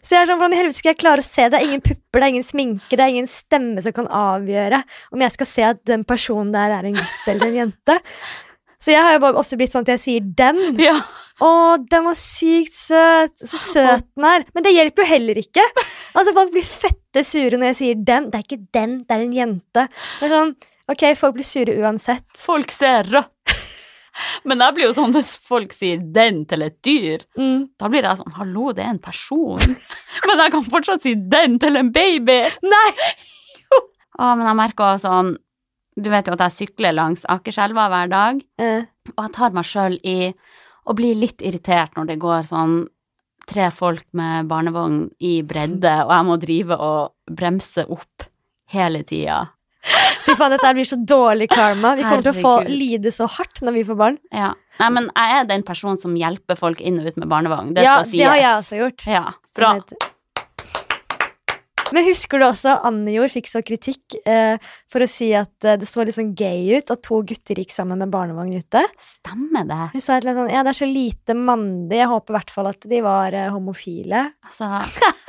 Så jeg er sånn, Hvordan i helvete skal jeg klare å se? Det er ingen pupper, det er ingen sminke, det er ingen stemme som kan avgjøre om jeg skal se at den personen der er en gutt eller en jente. Så jeg har jo bare ofte blitt sånn at jeg sier 'den'.
Ja.
Å, den var sykt søt! Så søt den er. Men det hjelper jo heller ikke. Altså, Folk blir fette sure når jeg sier den. Det er ikke den, det er en jente. Det er sånn, ok, Folk blir sure uansett.
Folk ser rødt. Men jeg blir jo sånn hvis folk sier 'den' til et dyr.
Mm.
Da blir jeg sånn, hallo, det er en person. men jeg kan fortsatt si den til en baby.
Nei!
Å, men jeg merker også sånn, du vet jo at jeg sykler langs Akerselva hver dag,
Eh,
og jeg tar meg selv i å bli litt irritert når det går sånn tre folk med barnevogn i bredde, og jeg må drive og bremse opp hele tida.
fy faen, dette her blir så dårlig karma. Vi kommer til å få
Herregud.
lide så hardt når vi får barn.
Ja. Nei, men jeg er den personen som hjelper folk inn og ut med barnevogn, det
ja,
skal sies.
det har jeg også gjort.
Ja, bra.
Men husker du også Annejord fikk så kritikk eh, for å si at eh, det så litt sånn gay ut at to gutter gikk sammen med barnevogn ute?
Stemmer det?
Hun sa et eller annet sånn Ja, det er så lite mandig. Jeg håper i hvert fall at de var eh, homofile.
Altså,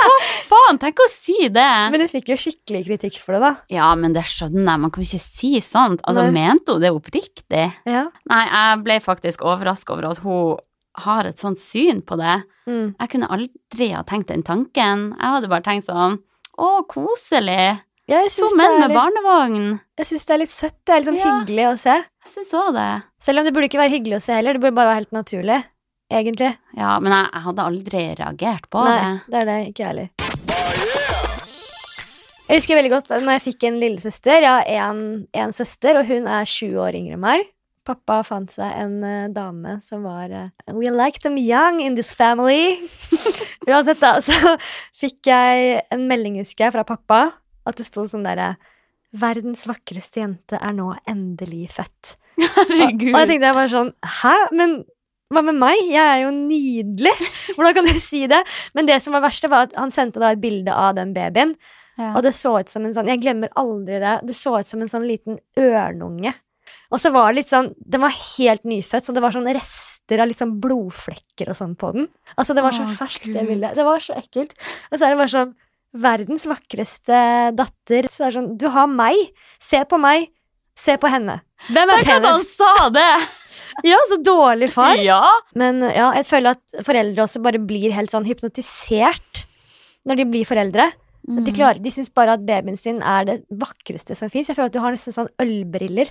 hva faen, tenk å si det!
Men hun fikk jo skikkelig kritikk for det, da.
Ja, men det skjønner jeg, man kan jo ikke si sånt. Altså,
Nei.
mente hun det oppriktig?
Ja.
Nei, jeg ble faktisk overrasket over at hun har et sånt syn på det.
Mm.
Jeg kunne aldri ha tenkt den tanken. Jeg hadde bare tenkt sånn, å, koselig.
Ja, jeg
To
syns det,
menn
er
med
litt-
barnevogn.
jeg synes det er litt søtt. Det er litt sånn
Ja.
hyggelig å se.
Jeg synes også det.
Selv om det burde ikke være hyggelig å se heller. Det burde bare være helt naturlig, egentlig.
Ja, men jeg, jeg hadde aldri reagert på
Nei,
det.
det er det. Ikke jeg heller. Jeg husker veldig godt da jeg fikk en lillesøster. Jeg har én søster, og hun er 20 år yngre enn meg. Pappa fant seg en eh, dame som var eh, We like them young in this family. Uansett, da, så fikk jeg en melding, husker jeg, fra pappa. At det sto sånn derre Verdens vakreste jente er nå endelig født. Og jeg
Herregud.
tenkte jeg bare sånn Hæ? Men hva med meg? Jeg er jo nydelig! Hvordan kan du si det? Men det som var verst, det var at han sendte da et bilde av den babyen.
Ja.
Og det så ut som en sånn Jeg glemmer aldri det. Det så ut som en sånn liten ørnunge. Og så var det litt sånn Den var helt nyfødt, så det var sånn rester av litt sånn blodflekker og sånn på den. Altså, det var så
Å,
ferskt,
Gud.
det bildet. Det var så ekkelt. Og så er det bare sånn Verdens vakreste datter. Så det er sånn Du har meg! Se på meg! Se på henne! Hvem er
Tenk at han
penest?
sa det!
Ja, så dårlig far.
Ja.
Men ja, jeg føler at foreldre også bare blir helt sånn hypnotisert når de blir foreldre. At De, klarer, de syns bare at babyen sin er det vakreste som fins. Jeg føler at du har nesten sånn ølbriller.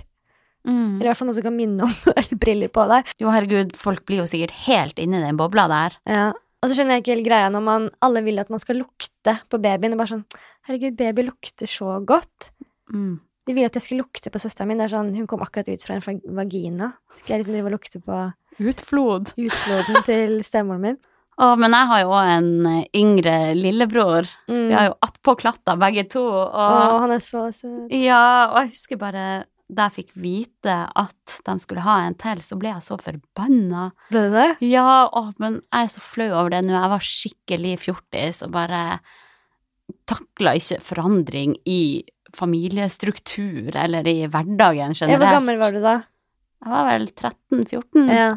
Mm.
Eller i hvert fall noe som kan minne om ølbriller på deg.
Jo, herregud, folk blir jo sikkert helt inni den bobla der.
Ja. Og så skjønner jeg ikke helt greia når man, alle vil at man skal lukte på babyen. Og bare sånn Herregud, baby lukter så godt.
Mm.
De ville at jeg skulle lukte på søsteren min. Det er sånn, Hun kom akkurat ut fra en fag- vagina. Skal jeg liksom drive og lukte på
Utflod.
utfloden til stemoren min?
Å, men jeg har jo òg en eh, yngre lillebror.
Mm.
Vi har jo attpå klatta begge to, og
Å, han er så søt.
Ja, og jeg husker bare da jeg fikk vite at de skulle ha en til, så ble jeg så forbanna.
Ble det det?
Ja, å, men jeg er så flau over det nå. Jeg var skikkelig fjortis og bare takla ikke forandring i familiestruktur eller i hverdagen
Ja,
generelt.
hvor gammel var du da?
Jeg var vel 13-14.
Ja.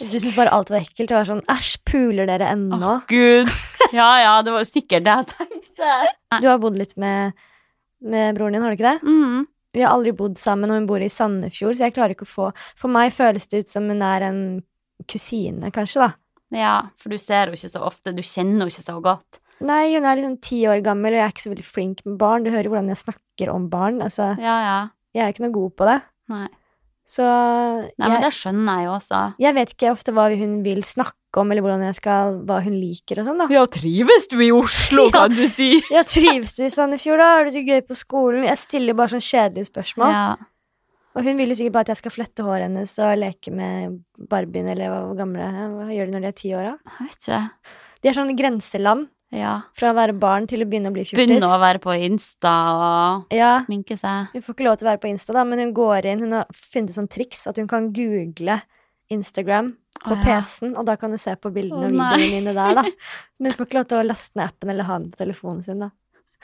Du syntes bare alt var ekkelt. Du var sånn Æsj, puler dere ennå?
Å, gud. Ja, ja, det var sikkert det jeg tenkte.
Du har bodd litt med, med broren din, har du ikke det?
Mm.
Vi har aldri bodd sammen, og hun bor i Sandefjord, så jeg klarer ikke å få For meg føles det ut som hun er en kusine, kanskje, da.
Ja, for du ser henne ikke så ofte. Du kjenner henne ikke så godt.
Nei, hun er liksom ti år gammel, og jeg er ikke så veldig flink med barn. Du hører hvordan jeg snakker om barn. Altså,
Ja, ja.
jeg er ikke noe god på det.
Nei.
Så
Nei, men
jeg,
det skjønner jeg jo også.
jeg vet ikke ofte hva hun vil snakke om, eller hvordan jeg skal, hva hun liker og sånn, da.
Ja, trives du i Oslo,
kan
du si?
Ja, trives du i Sandefjord, da? Har du det gøy på skolen? Jeg stiller bare sånn kjedelige spørsmål.
Ja.
Og hun vil jo sikkert bare at jeg skal flette håret hennes og leke med Barbien, eller hva- hvor gamle er. Hva gjør de når de er ti år, da?
Jeg vet ikke.
De er sånn grenseland
Ja.
fra å være barn til å begynne å bli fjortis.
Begynne å være på Insta og
Ja,
sminke seg.
Hun får ikke lov til å være på Insta, da, men hun går inn Hun har funnet sånn triks at hun kan google Instagram på
Å, ja.
PC-en, og da kan du se på bildene
Å,
og
nei.
videoene mine der, da. Men hun får ikke lov til å laste ned appen eller ha den på telefonen sin, da.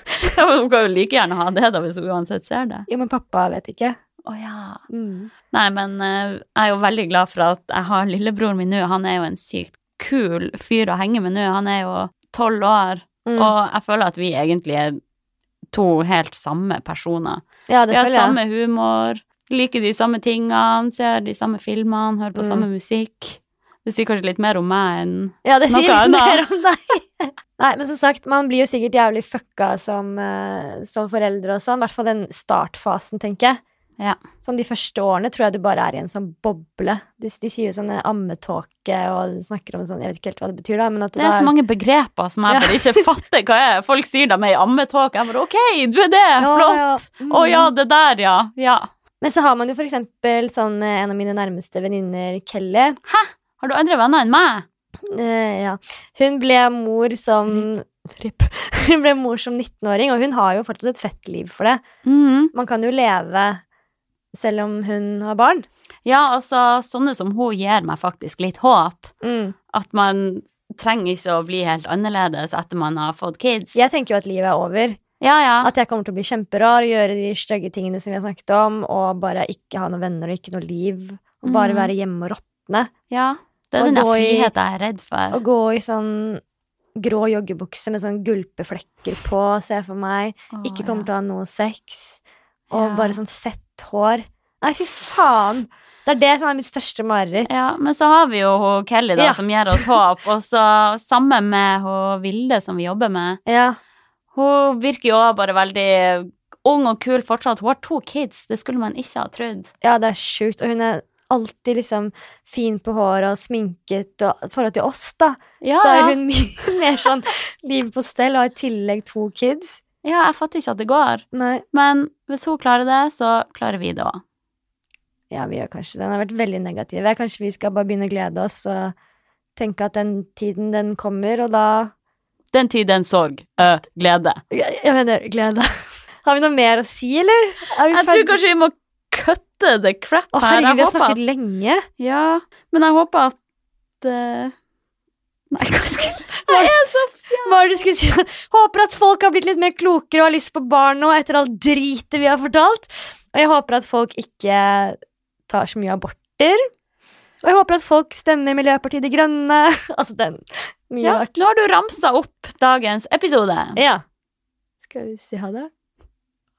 Ja, men Hun kan jo like gjerne ha det, da, hvis hun uansett ser det.
Jo, men pappa vet ikke.
Å ja.
Mm.
Nei, men eh, jeg er jo veldig glad for at jeg har lillebroren min nå. Han er jo en sykt kul fyr å henge med nå. Han er jo tolv år,
Mm.
og jeg føler at vi egentlig er to helt samme personer.
ja, det
Vi har
føler jeg.
samme humor, liker de samme tingene, ser de samme filmene, hører på
Mm.
samme musikk. Det sier kanskje litt mer om meg enn
Ja, det
Noe
sier litt
annet.
mer om deg. Nei, men som sagt, man blir jo sikkert jævlig fucka som, eh, som foreldre og sånn. I hvert fall den startfasen, tenker jeg.
Ja.
Sånn de første årene tror jeg du bare er i en sånn boble. De, de sier jo sånn eh, ammetåke og snakker om sånn Jeg vet ikke helt hva det betyr, da, men at
Det er
da-
så mange begreper som jeg
Ja.
bare ikke fatter hva er. Folk sier de er i ammetåke. Jeg bare OK, du er det!
Ja,
Flott! Mm.
ja. Mm.
Å ja, det der, ja. Ja.
Men så har man jo for eksempel sånn med en av mine nærmeste venninner, Kelly.
Har du andre venner enn meg?
Eh, ja. Hun ble mor som Rip. Hun ble mor som 19-åring, og hun har jo fortsatt et fett liv for det.
Mhm.
man kan jo leve selv om hun har barn.
Ja, altså, sånne som hun gir meg faktisk litt håp. At man trenger ikke å bli helt annerledes etter man har fått kids.
Jeg tenker jo at livet er over.
Ja, ja.
At jeg kommer til å bli kjemperar, gjøre de stygge tingene som vi har snakket om, og bare ikke ha noen venner og ikke noe liv. Og bare
Mm.
være hjemme og råtne.
ja. Det
Og
er den der
gå i-
friheten jeg er redd for.
Og gå i sånn grå joggebukse med sånn gulpeflekker på, ser jeg for meg.
Å,
Ikke kommer
ja.
til å ha noe sex. Og
Ja.
bare sånn fett hår. Nei, fy faen! Det er det som er mitt største mareritt.
Ja, men så har vi jo hun Kelly, da,
Ja.
som gir oss håp. Og så sammen med hun Vilde, som vi jobber med.
Ja.
Hun virker jo også bare veldig ung og kul fortsatt. Hun har to kids, det skulle man ikke ha trodd.
Ja, det er sjukt. Og hun er alltid liksom fin på håret og sminket. Og i forhold til oss, da,
Ja,
så er
ja.
hun mye mer sånn liv på stell og har i tillegg to kids.
ja, jeg fatter ikke at det går.
Nei,
Men hvis hun klarer det, så klarer vi det òg.
ja, vi gjør kanskje det. Den har vært veldig negativ. Kanskje vi skal bare begynne å glede oss og tenke at den tiden, den kommer, og da
Den tid, den sorg. Ø, glede.
Jeg, jeg mener, glede. Har vi noe mer å si, eller? Er vi
Jeg tror
ferdig-
kanskje vi må kutte the crap
Å,
her.
herregud, vi
Jeg
har
håper at
snakket lenge.
Ja, men jeg håper at eh, Nei, hva skulle
Hva er det du skulle si? Håper at folk har blitt litt mer klokere og har lyst på barn nå etter all dritet vi har fortalt. Og jeg håper at folk ikke tar så mye aborter. Og jeg håper at folk stemmer Miljøpartiet De Grønne. Altså den. Mye
Ja,
rart.
nå har du ramsa opp dagens episode.
Ja. Skal vi si ha det?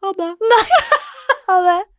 Ha det. Nei! Ha det.